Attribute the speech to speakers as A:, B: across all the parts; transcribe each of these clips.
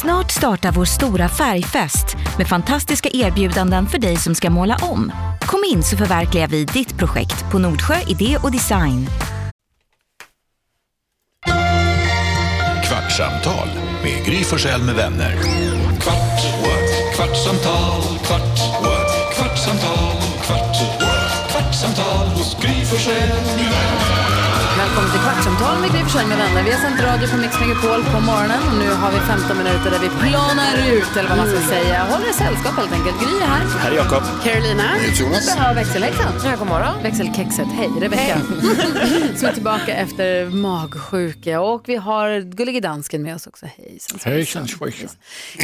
A: Snart startar vår stora färgfest med fantastiska erbjudanden för dig som ska måla om. Kom in så förverkligar vi ditt projekt på Nordsjö Idé och Design.
B: Kvartsamtal med Gry Forssell med vänner. Kvart, what? kvartsamtal, kvart, what? kvartsamtal, kvart, what? kvartsamtal hos Gry Forssell med vänner.
C: Välkommen till Kvartsamtal med Gry Forssell med vänner. Vi har sänt radio på Mix Megapol på morgonen och nu har vi 15 minuter där vi planar ut, eller vad man ska säga. Håller er sällskap helt enkelt. Gry är här.
D: Här är Jakob.
C: Carolina.
D: Jonas.
C: Ja, växelhäxan. Ja, god morgon. Växelkexet. Hej, Rebecka. Som är tillbaka efter magsjuka. Och vi har gullige dansken med oss också. Hejsan.
E: Hejsan svejsan.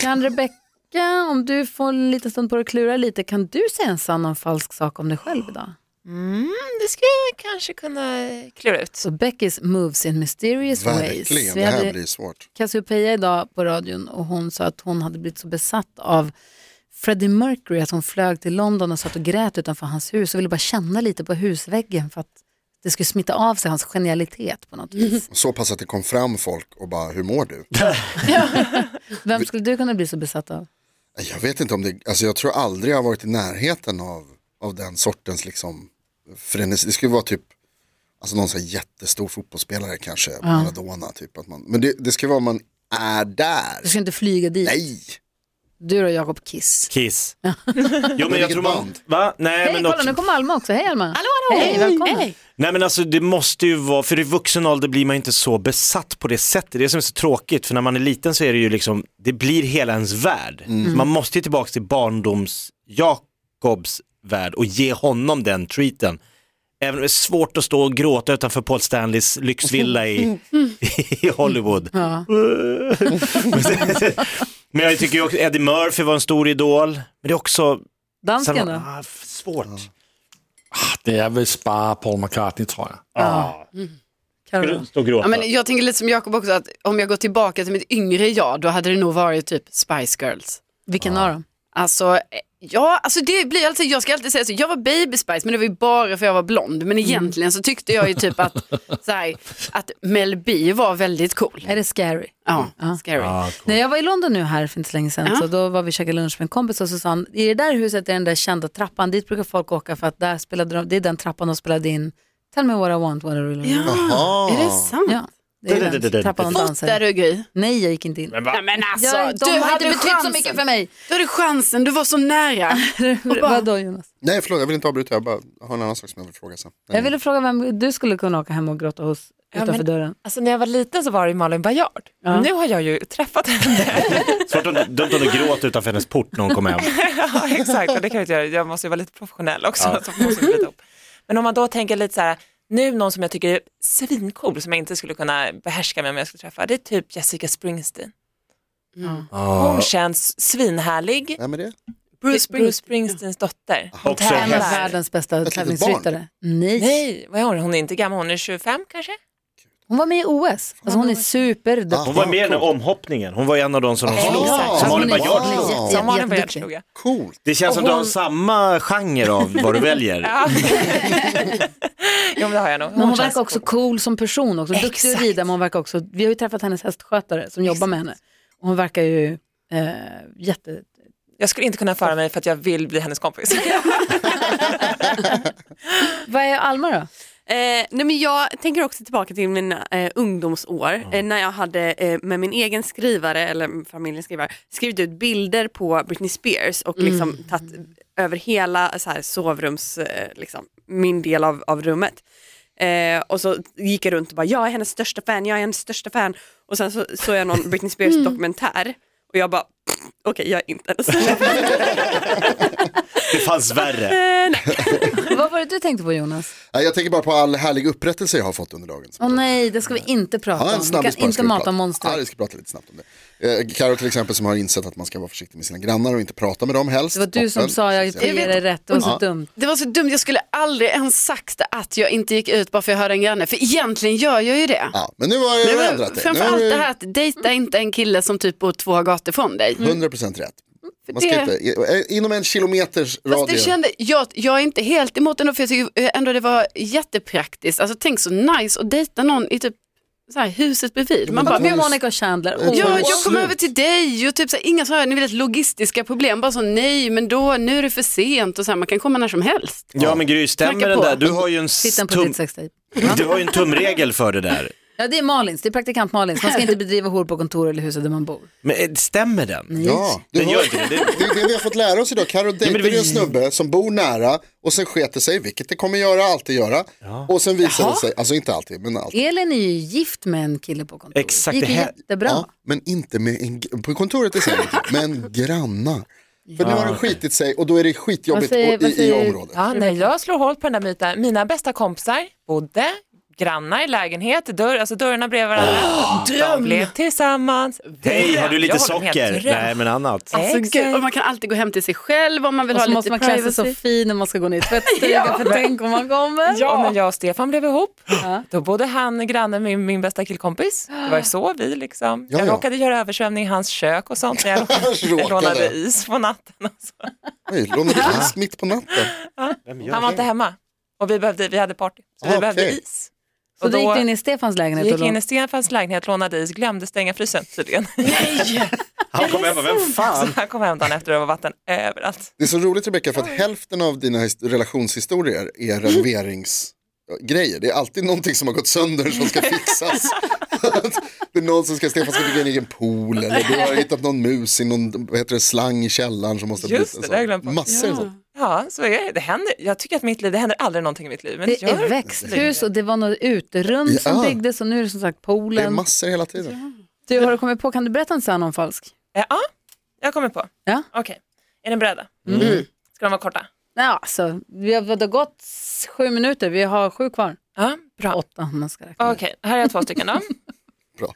C: Kan Rebecka, om du får en liten stund på dig att klura lite, kan du säga en sann och en falsk sak om dig själv idag?
F: Mm, det skulle jag kanske kunna klura eh, ut.
C: Så Beckys moves in mysterious ways.
D: Verkligen, det här blir svårt.
C: Cassiopeia idag på radion och hon sa att hon hade blivit så besatt av Freddie Mercury att hon flög till London och satt och grät utanför hans hus och ville bara känna lite på husväggen för att det skulle smitta av sig hans genialitet på något vis.
D: Så pass att det kom fram folk och bara, hur mår du?
C: Vem skulle du kunna bli så besatt av?
D: Jag vet inte om det, alltså jag tror aldrig jag har varit i närheten av, av den sortens liksom frenesi. Det skulle vara typ, alltså någon sån här jättestor fotbollsspelare kanske, Maradona typ. Att man, men det, det ska vara om man är
C: Du
D: där.
C: ska inte flyga dit.
D: Nej,
C: Du då Jakob Kiss.
E: Kiss. Jo, men jag
D: vilket
E: tror man,
D: band?
E: va? Nej,
C: Hej,
E: men
C: kolla
E: något-
C: nu kommer Alma också. Hej Alma.
F: Hallå, hallå!
C: Hej, välkommen.
E: Nej men alltså det måste ju vara, för i vuxen ålder blir man ju inte så besatt på det sättet. Det är det som är så tråkigt, för när man är liten så är det ju liksom, det blir hela ens värld.
C: Mm.
E: Man måste ju tillbaka till barndoms Jakobs värld och ge honom den treaten. Även om det är svårt att stå och gråta utanför Paul Stanleys lyxvilla i,
C: Mm.
E: i Hollywood. men jag tycker ju också Eddie Murphy var en stor idol. Men det är också...
C: Dansken då?
E: ah, svårt.
G: Det är väl spara Paul McCartney tror jag.
C: Carro.
E: Stå och gråta.
H: Ja, men jag tänker lite som Jakob också, att om jag går tillbaka till mitt yngre jag, då hade det nog varit typ Spice Girls.
C: Vilken av dem?
H: Alltså, eh, ja, alltså det blir alltid, jag ska alltid säga så, jag var baby Spice, men det var ju bara för jag var blond.
C: Mm.
H: Men egentligen så tyckte jag ju typ att, så här, att Mel B var väldigt cool.
C: Är det Scary?
H: Ja, scary.
C: När jag var i London nu här för inte så länge sedan, så då var vi och käkade lunch med en kompis och så sa han, i det där huset är den där kända trappan, dit brukar folk åka för att där spelade de, det är den trappan de spelade in Tell me what I want, what I really want. Ja,
F: Ah.
H: Är det sant?
C: det är den trappan de
H: Fot där
C: dansar. i.
H: du Gry.
C: Nej, jag gick inte in.
H: Nej men alltså,
C: Jag, de
H: du
C: har inte
H: hade
C: betytt så
H: chansen.
C: mycket för mig.
H: Du hade chansen, du var så nära.
C: Vadå Jonas?
D: nej förlåt jag vill inte avbryta, jag bara har en annan sak som jag vill fråga sen.
C: Jag ville fråga vem du skulle kunna åka hem och gråta hos utanför
F: men-
C: dörren.
F: Alltså när jag var liten så var det ju Malin Baryard. Nu har jag ju träffat henne.
E: Svårt om dumt om du gråter utanför hennes port när hon kommer hem.
F: ja, exakt, och det kan jag inte göra. Jag måste ju vara lite professionell också. Så man måste bryta upp. Men om man då tänker lite så här, nu någon som jag tycker är svincool som jag inte skulle kunna behärska mig om jag skulle träffa, det är typ Jessica Springsteen. Mm.
H: Mm. Ah.
F: Hon känns svinhärlig.
D: Vem är det?
F: Bruce, Bruce Springsteens dotter. Hon
E: Också
C: En av
E: Eller-
F: tävlar.
C: världens bästa
D: litet
C: tävlingsryttare. Nej.
F: Nej, vad är hon? Hon är inte gammal, hon är 25 kanske?
C: hon var med i OS. Alltså hon är superduktig.
E: Hon var med i den här omhoppningen, hon var ju en av de som de slog.
F: exakt.
E: Som Malin
C: Hon är
E: Baryard
C: jätte-
E: slog.
C: jätte-
D: Wow.
F: Som Malin Baryard
C: jätteduktig.
F: slog jag.
D: Coolt.
E: Det känns som du har samma genre av vad du väljer.
F: Ja. Ah. jo men det har jag nog.
C: Men hon
F: känns
C: verkar också cool som person också, duktig att
F: Exakt.
C: rida men hon verkar också, vi har ju träffat hennes hästskötare som jobbar med henne. Och hon verkar ju eh, jätte...
F: Jag skulle inte kunna föra mig för att jag vill bli hennes kompis.
C: Vad är Alma då?
I: Eh, nej men jag tänker också tillbaka till mina eh, ungdomsår eh, när jag hade eh, med min egen skrivare, eller med familjens skrivare, skrivit ut bilder på Britney Spears och liksom tagit över hela så här, sovrums, eh, liksom, min del av, av rummet. Eh, och så gick jag runt och bara, jag är hennes största fan, jag är hennes största fan. Och sen så såg jag någon Britney Spears dokumentär och jag bara, okej jag är inte hennes största fan.
E: Det fanns värre.
C: Vad var det du tänkte på Jonas?
D: Nej, Jag tänker bara på all härlig upprättelse jag har fått under dagen.
C: Åh nej, det ska vi inte prata
D: Ja, en
C: om. Vi kan
D: snabbis bara
C: inte
D: ska vi
C: mata
D: prata.
C: om
D: Ja,
C: monster.
D: vi ska prata lite snabbt om det. Eh, Karo till exempel som har insett att man ska vara försiktig med sina grannar och inte prata med dem helst.
C: Det var du som
D: Toppen.
C: sa, jag
D: Så-
C: ger dig rätt, det var så
D: Ja.
C: dumt.
H: Det var så dumt, jag skulle aldrig ens sagt att jag inte gick ut bara för jag hörde en granne, för egentligen gör jag ju det.
D: Ja, men nu har jag
H: Nej,
D: ju
H: men
D: ändrat dig. Nu har
H: Framförallt
D: du
H: det här att dejta inte en kille som typ bor två gator från dig.
D: Mm. 100% rätt. Man ska
H: det-
D: inte, i- inom en kilometers
H: Fast det
D: radie.
H: kände, jag, jag är inte helt eh, emot ändå för jag tycker ändå det var jättepraktiskt. Alltså tänk så nice att dejta någon i typ så här, huset bredvid. Man
D: men
H: bara,
D: det var
C: Med
D: ju-
C: Monica Chandler.
D: Ja,
C: Åh,
H: Ja,
D: var
H: jag kom
D: slut.
H: över till dig och typ så här, inga så här, ni vet, logistiska problem. Bara så nej, men då, nu är det för sent och så här, man kan komma när som helst.
E: Ja men Gry, stämmer
H: Knacka
E: den
H: på.
E: där? Du har ju en, s-
C: Tittar på
E: tum...
C: ditt sextape.
E: du har ju en tumregel för det där.
C: Ja, det är Malins, det är praktikant Malins. Man ska inte bedriva hår på kontor eller huset där man bor.
E: Men eh, stämmer den?
D: Ja, du
E: Den
D: hör-
E: gör inte det. det.
D: Det är det vi har fått lära oss idag. Carro
E: men det
D: dejtade
E: var-
D: en snubbe som bor nära och sen sket sig, vilket det kommer göra, alltid göra. Och sen visade det sig, alltså inte alltid, men alltid.
C: Elin är ju gift med en kille på kontor.
E: Exakt,
C: Det gick
E: det
C: ju
E: här-
C: jättebra.
D: Ja, men inte med en, på kontoret är säkert, men grannar. För nu har det skitit sig och då är det skitjobbigt
C: Vad säger-
D: och-
C: vad
D: i, i
C: säger-
D: området.
F: Ja, nej, jag slår hål på den där myten. Mina bästa kompisar bodde grannar, lägenhet, dörr, alltså dörrarna bredvid varandra. De blev tillsammans.
E: Hej, har du
F: Jag
E: lite
F: håller med.
E: socker?
F: Dröm.
E: Nej men annat.
H: Alltså,
F: Exakt.
H: gud, och man kan alltid gå hem till sig själv om man vill
C: Och
H: ha
C: så måste
H: lite
C: man klä sig så
H: privacy.
C: fin när man ska gå ner i tvättstugan för tänk om man kommer.
F: Och när jag och Stefan blev ihop, då bodde han granne med min bästa killkompis. Det var ju så vi liksom.
D: Ja,
F: jag
D: ja.
F: råkade göra översvämning i hans kök och sånt när jag
D: Råkade.
F: råkade. lånade is på natten. och så.
D: Oj, lånade is mitt på natten.
F: Han var inte hemma och vi, behövde, vi hade party, så
D: Ah,
F: vi behövde
D: okej.
F: is.
C: Så
F: Och
C: då, gick du in i Stefans
F: Jag
C: lägenhet
F: gick
C: och
F: in
C: lånade.
F: i Stefans lägenhet, lånade is, glömde stänga frysen tydligen.
E: Han kom hem och vem fan?
F: Så han kom hem dagen efter och det var vatten överallt.
D: Det är så roligt Rebecka för att hälften av dina his- relationshistorier är renoveringsgrejer. Det är alltid någonting som har gått sönder som ska fixas. det är någon som ska, Stefan ska bygga en egen pool eller du har hittat någon mus i någon vad heter det, slang i källaren som måste
F: Just det,
D: bytas.
F: det har jag glömt bort.
D: Massor av sånt.
F: Ja, så är det. det händer. Jag tycker att mitt liv, det händer aldrig någonting i mitt liv. Men
C: Det
F: gör
C: är växthus och det var något uterum som
D: Ja.
C: byggdes och nu är det som sagt
D: Det är
C: poolen.
D: massor hela tiden.
C: Du, har du kommit på, kan du berätta en sann om falsk?
F: Eh, Ja, jag kommer på.
C: Ja.
F: Okej, är ni beredda? Ska de vara korta?
C: Nej, alltså, vi har, det har gått s- sju minuter, vi har sju kvar.
F: Ja, bra.
C: Åtta om man ska räkna.
F: Okej, här är jag två stycken då.
D: Mm. Bra.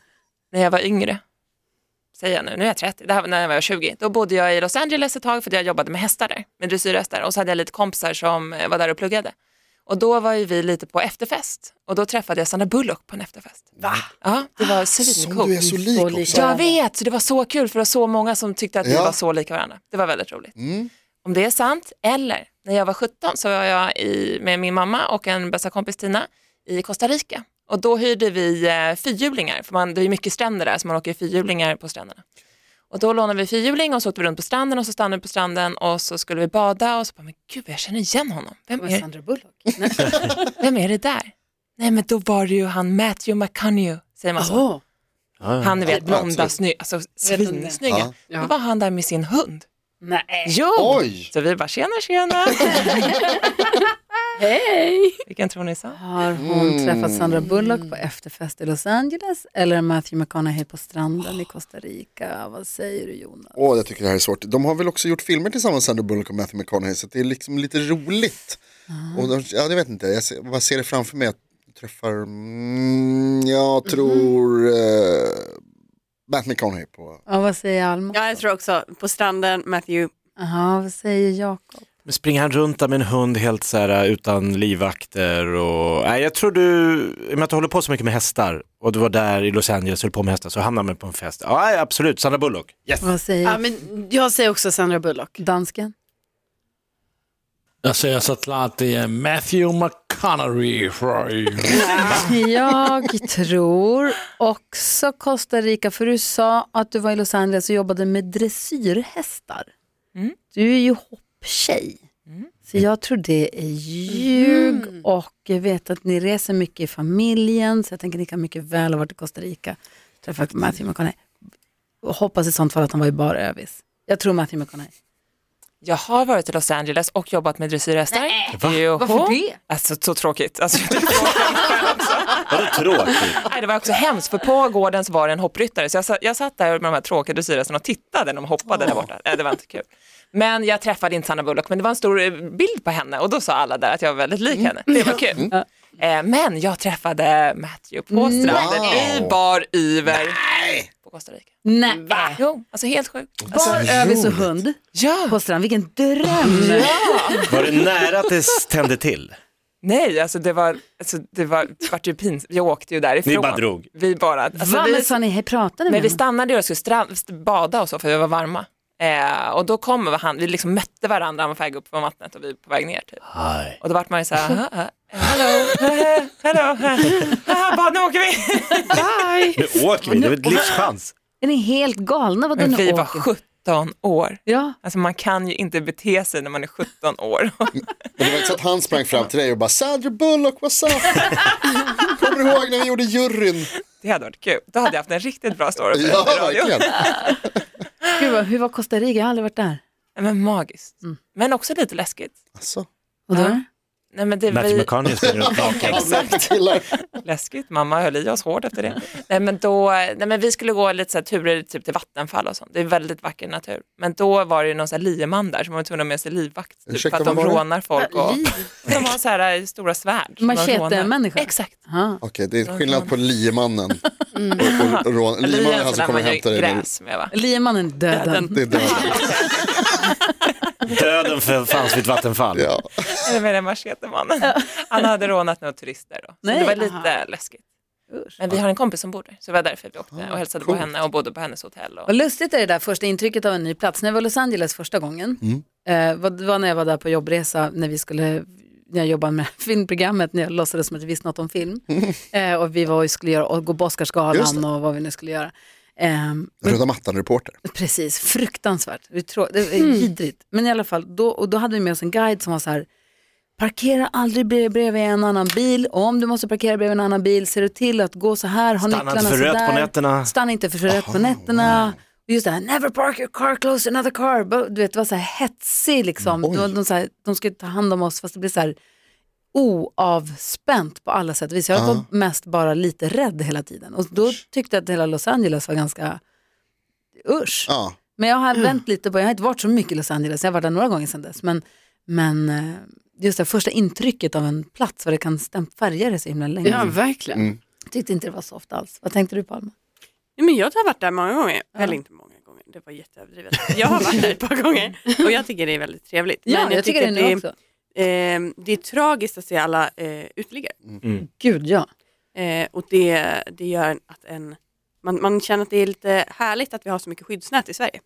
F: När jag var yngre, säger jag nu, nu är jag 30, det här var när jag var 20, då bodde jag i Los Angeles ett tag för att jag jobbade med hästar där, med dressyrhästar och så hade jag lite kompisar som eh, var där och pluggade. Och då var ju vi lite på efterfest och då träffade jag Sandra Bullock på en efterfest. Va? Ja, det var
D: Som du är
F: svincoolt.
D: Ah, så lik
C: lik.
D: också.
F: Jag vet, så det var så kul för det var så många som tyckte att vi
D: Ja.
F: var så lika varandra. Det var väldigt roligt.
D: Mm.
F: Om det är sant, eller när jag var 17 så var jag i, med min mamma och en bästa kompis Tina i Costa Rica. Och då hyrde vi eh, fyrhjulingar, för man, det är ju mycket stränder där så man åker ju fyrhjulingar på stränderna. Och då lånade vi fyrhjuling och så åkte vi runt på stranden och så stannade vi på stranden och så skulle vi bada och så bara, men gud jag känner igen honom. Vem
C: Det var
F: är,
C: Sandra Bullock.
F: vem är det där? Nej men då var det ju han Matthew McConaughey, säger man så.
H: Åh,
F: Han ni vet,
D: Ja,
F: blonda,
D: absolut.
F: snygg, alltså svinsnygga.
D: Ja.
F: Då var han där med sin hund.
C: Nej.
F: Jo!
D: Oj!
F: Så vi bara tjena tjena.
C: Hej!
F: Vilken tror ni sa?
C: Har hon träffat Sandra Bullock
I: Mm.
C: på efterfest i Los Angeles eller Matthew McConaughey på stranden i Costa Rica? Vad säger du Jonas?
D: Åh, jag tycker det här är svårt. De har väl också gjort filmer tillsammans, Sandra Bullock och Matthew McConaughey, så det är liksom lite roligt. Och de, ja, jag vet inte, jag ser, vad ser det framför mig att träffar, mm, jag tror eh, Matt McConaughey på,
C: Ja, vad säger Alma?
I: Ja, jag tror också på stranden, Matthew.
C: Jaha, vad säger Jakob?
E: Men springer han runt där med en hund helt så här äh, utan livvakter och... Nej jag tror du, i och med att du håller på så mycket med hästar och du var där i Los Angeles och höll på med hästar så hamnar man på en fest. Ja absolut, Sandra Bullock. Yes!
C: Vad säger
H: ja, men jag säger också Sandra Bullock.
C: dansken?
G: Jag säger såklart det är Matthew McConaughey.
C: Jag tror också Costa Rica, för du sa att du var i Los Angeles och jobbade med dressyrhästar.
F: Mm.
C: Du är ju hopptjej. Så jag tror det är ljug
F: Mm.
C: och jag vet att ni reser mycket i familjen så jag tänker att ni kan mycket väl ha varit i Costa Rica. Träffat Matthew McConaughey. Och hoppas i sånt fall att han var i bar övis. Jag tror Matthew McConaughey.
F: Jag har varit i Los Angeles och jobbat med dressyrhästar. Joho.
C: Varför det?
F: Alltså så tråkigt. Alltså, det,
E: Vadå tråkigt?
F: nej, det var också hemskt för på gården så var det en hoppryttare så jag, sa- jag satt där med de här tråkiga dressyrhästarna och tittade när de hoppade där borta. Nej, det var inte kul. Men jag träffade inte Sanna Bullock men det var en stor eh, bild på henne och då sa alla där att jag var väldigt lik henne. Det var kul. Eh, men jag träffade Matthew på stranden i bar iver på Costa Rica.
C: Nej.
F: Jo, alltså helt sjukt. Alltså,
C: Bar övis och hund
F: ja. Mm.
C: på strand. Vilken dröm!
E: Var det nära att det tände till?
F: Nej, alltså det var, alltså det var, det vart ju pinsamt. Jag åkte ju därifrån.
E: Ni bara drog.
F: Vi bara, alltså
C: Va,
F: vi,
C: men sa ni, hej, pratade ni
F: men
C: med
F: vi
C: honom?
F: stannade och skulle stra- bada och så för vi var varma. Eh, och då kommer han, vi liksom mötte varandra, han var på väg upp från vattnet och vi på väg ner. Typ. Och då vart man ju så här, "Aha, eh, hallå, eh, hallå, eh, bara nu åker vi.
E: Nu åker vi, det är ett livschans.
C: Är ni helt galna? Vad
F: Men
C: den
F: vi var
C: åker?
F: 17 år.
C: Ja,
F: Alltså man kan ju inte bete sig när man är 17 år.
D: Men det var inte så att han sprang fram till dig och bara Sandra Bullock, what's up? Kommer du ihåg när vi gjorde juryn?
F: Det hade varit kul. Då hade jag haft en riktigt bra story att
D: Ja,
F: berätta i radio.
D: verkligen.
C: Gud, vad- hur var Costa Rica? Jag har aldrig varit där.
F: Nej, Men magiskt.
C: Mm.
F: Men också lite läskigt.
D: Alltså,
C: Och
F: Ja.
C: där?
F: Nej, men det,
E: Matthew
F: vi,
E: McConaughey springer runt naken.
D: Exakt. killar.
F: läskigt, mamma höll i oss hårt efter det. Nej, men då, nej, men vi skulle gå lite så här, turer typ till vattenfall och sånt. Det är väldigt vacker natur. Men då var det ju någon så här lieman där som var tvungen att ha med sig livvakt. Typ, för
D: Ursäkta,
F: att
D: vad
F: de
D: var det?
F: rånar folk. Och, de har så här eh, stora svärd. som de rånar.
C: Machete-människa?
F: Exakt.
C: Ja.
D: Okej, det är skillnad på liemannen och, och, och rån. Liemannen är han som kommer och hämtar dig. när-
F: Gräs med, va?
C: Liemannen döden.
D: Det är döden.
E: Döden för fanns vid ett vattenfall.
D: Ja.
F: Eller med den machete-mannen. Han hade rånat några turister då. Så
C: Nej,
F: det var lite läskigt. Men vi har en kompis som bor där, så det var därför vi åkte
D: Ah,
F: och hälsade på henne och bodde på hennes hotell. Och...
C: Vad lustigt är det där första intrycket av en ny plats. När jag var i Los Angeles första gången, eh, vad- det var när jag var där på jobbresa, när vi skulle när jag jobbade med filmprogrammet, när jag låtsades som att jag visste något om film. Eh, och vi var och skulle göra, och gå på
D: Just
C: Oscarsgalan
D: det.
C: och vad vi nu skulle göra. Ehm,
D: Röda mattan-reporter.
C: Precis, fruktansvärt. Det är trå- det är vidrigt. Men i alla fall, då, och då hade vi med oss en guide som var så här, parkera aldrig bre- bredvid en annan bil. Och om du måste parkera bredvid en annan bil, ser du till att gå så här, ha
E: Stanna
C: nycklarna
E: inte för
C: så
E: rött på
C: där.
E: nätterna.
C: Stanna inte för rött på nätterna. Och Just det här, never park your car close to another car. Bara- Du vet, det var så här hetsig liksom.
D: Oj.
C: De, de, så här, de skulle ta hand om oss fast det blev så här oavspänt på alla sätt och vis. Jag var mest bara lite rädd hela tiden. Och då tyckte jag att hela Los Angeles var ganska, usch.
D: Ja.
C: Men jag har vänt lite på, jag har inte varit så mycket i Los Angeles, jag har varit där några gånger sedan dess. Men, men eh, just det här första intrycket av en plats, vad det kan stämt färga det så himla länge.
H: Ja, verkligen.
D: Mm.
C: Tyckte inte det var soft alls. Vad tänkte du Palma?
I: Nej, men jag har varit där många gånger, eller inte många gånger, det var jätteöverdrivet. Jag har varit där ett par gånger
H: Mm.
I: och jag tycker det är väldigt trevligt.
C: Ja,
I: Men
C: jag, tycker det
I: att
C: nu
I: det, är-
C: också.
I: ehm, det är tragiskt att se alla eh, uteliggare
C: Gud ja.
I: eh, och det, det gör att en, man, man känner att det är lite härligt att vi har så mycket skyddsnät i Sverige.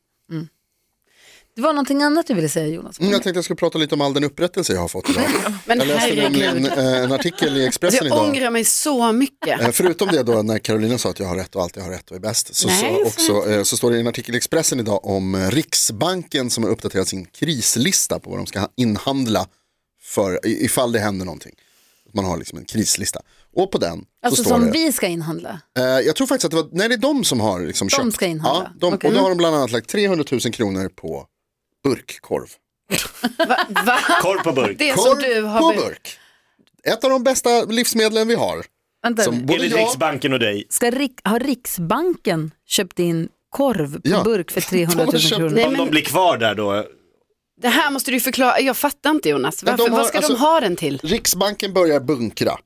C: Det var någonting annat du ville säga Jonas?
D: Mm, Jag tänkte jag skulle prata lite om all den upprättelse jag har fått idag.
H: Men
D: Jag läste nämligen
H: herregud,
D: eh, en artikel i
H: alltså,
D: Expressen
H: jag
D: idag.
H: ångrar mig så mycket.
D: Eh, Förutom det då när Carolina sa att jag har rätt och alltid har rätt och är bäst. Så,
H: Nej, så
D: så, också, eh, så står det i en artikel i Expressen idag om eh, Riksbanken som har uppdaterat sin krislista på vad de ska ha- inhandla för i- ifall det händer någonting. Man har liksom en krislista. Och på den
C: Alltså
D: så står
C: som
D: det.
C: vi ska inhandla.
D: Eh, jag tror faktiskt att det var, nej det är de som har liksom köpt.
C: ska inhandla.
D: Ja, de,
C: Okej.
D: Och då har de bland annat lagt 300 000 kronor på burkkorv.
H: Va?
E: Korv på burk.
H: Det som
D: Korv
H: du
D: på
H: har... be-
D: burk. Ett av de bästa livsmedlen vi har.
C: Vänta,
D: Som
C: nu.
D: både
E: Enligt
D: jag,
E: Riksbanken och dig.
C: ska Rik- har Riksbanken köpt in korv på
D: Ja.
C: burk för 300 000
D: De har köpt-
C: kronor?
H: Nej,
E: Om de
H: men
E: blir kvar där då.
H: det här måste du förklara. Jag fattar inte Jonas.
D: Men de
H: Varför,
D: har-
H: vad ska
D: alltså-
H: de ha den till?
D: Riksbanken börjar bunkra.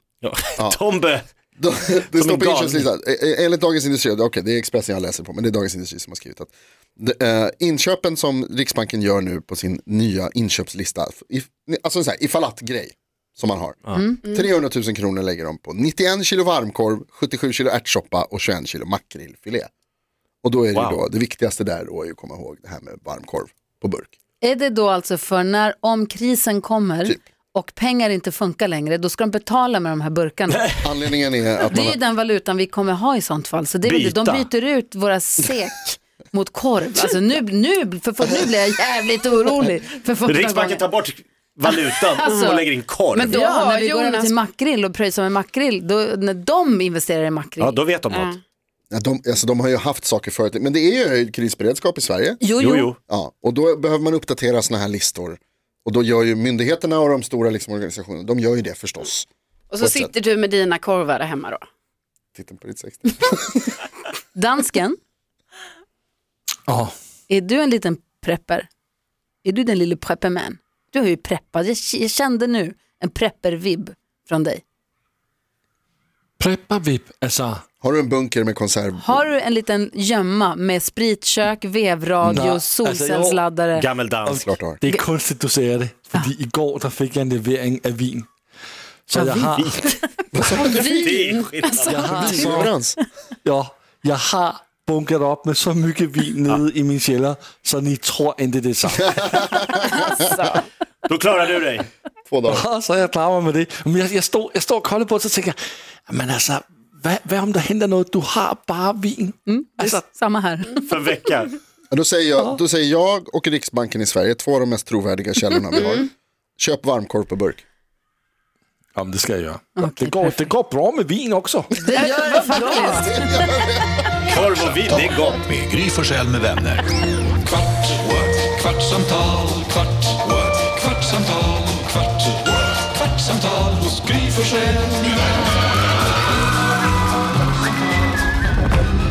E: Ja. Tombe.
D: Då- Det står
E: en
D: på
E: galning.
D: inköpslistan. Eh, eh, Enligt Dagens Industri, okej det är Expressen jag läser på, men det är Dagens Industri som har skrivit att de, eh, inköpen som Riksbanken gör nu på sin nya inköpslista, if, alltså en sån här ifall att-grej som man har.
E: Mm.
D: 300 000 kronor lägger de på 91 kilo varmkorv, 77 kilo ärtsoppa och 21 kilo makrillfilé. Och då är det ju
E: Wow.
D: då, det viktigaste där då är ju att komma ihåg det här med varmkorv på burk.
C: Är det då alltså för när, om krisen kommer
D: Typ.
C: och pengar inte funkar längre, då ska de betala med de här burkarna?
D: Anledningen är att
C: Det
D: man
C: är
D: har,
C: ju den valutan vi kommer ha i sånt fall. Så det är väl det. De
E: Byta.
C: byter ut våra SEK mot korv. Alltså nu, nu, för, för, nu blir jag jävligt orolig. För första gången.
E: Riksbanken tar bort valutan
C: Alltså.
E: och lägger in korv.
H: Men då-
C: Ja,
H: Ja,
C: när vi går över
H: Jonas.
C: till makrill och pröjsar med makrill, då, när de investerar i makrill.
E: Ja, då vet de något.
D: ja, de, alltså, de har ju haft saker förut, men det är ju höjd krisberedskap i Sverige.
C: jo,
E: Jo, jo.
D: Ja, och då behöver man uppdatera sådana här listor. Och då gör ju myndigheterna och de stora liksom organisationerna, de gör ju det förstås.
H: Och
D: På
H: så
D: ett sätt.
H: sitter du med dina korvar där hemma då.
D: Titta på ditt 60.
C: Dansken,
G: Ja,
C: är du en liten prepper? Är du den lille prepperman? Du har ju preppat, jag, k- jag kände nu en prepper-vibb från dig.
G: preppa vip, alltså.
D: Har du en bunker med konserv?
C: Har du en liten gömma med spritkök, vevradio,
G: Nej, alltså, jag-
C: solcellsladdare?
E: Gammeldansk.
D: Klart du har.
G: Det är konstigt du säger det, fordi igår der fik jeg en levering af vin. Så jeg har,
E: Det är skillnad.
G: jeg har,
D: Vinleverans.
G: ja, jeg har bunkret op med så mycket vin nede i min källar så ni tror inte det är sant.
E: Då klarar du dig.
D: Två dagar.
G: Ja, så jag klarar mig med det. Men jag, jag, står, jag står och kollar på det så tänker jag, men alltså, vad, vad om det händer något? Du har bara vin. Alltså,
C: Samma här.
E: För en vecka.
D: Ja, Då säger, jag, då säger jag och Riksbanken i Sverige, två av de mest trovärdiga källorna vi
C: Mm.
D: har, köp varmkorv på burk.
G: ja, men det ska jag göra. det, går, det går bra med vin också.
E: Korv och vin, det är gott.
B: Med Gry Forssell med vänner. Kvart, what? kvartsamtal, kvart, what? kvartsamtal, kvart, what? kvartsamtal hos Gry Forssell med vänner.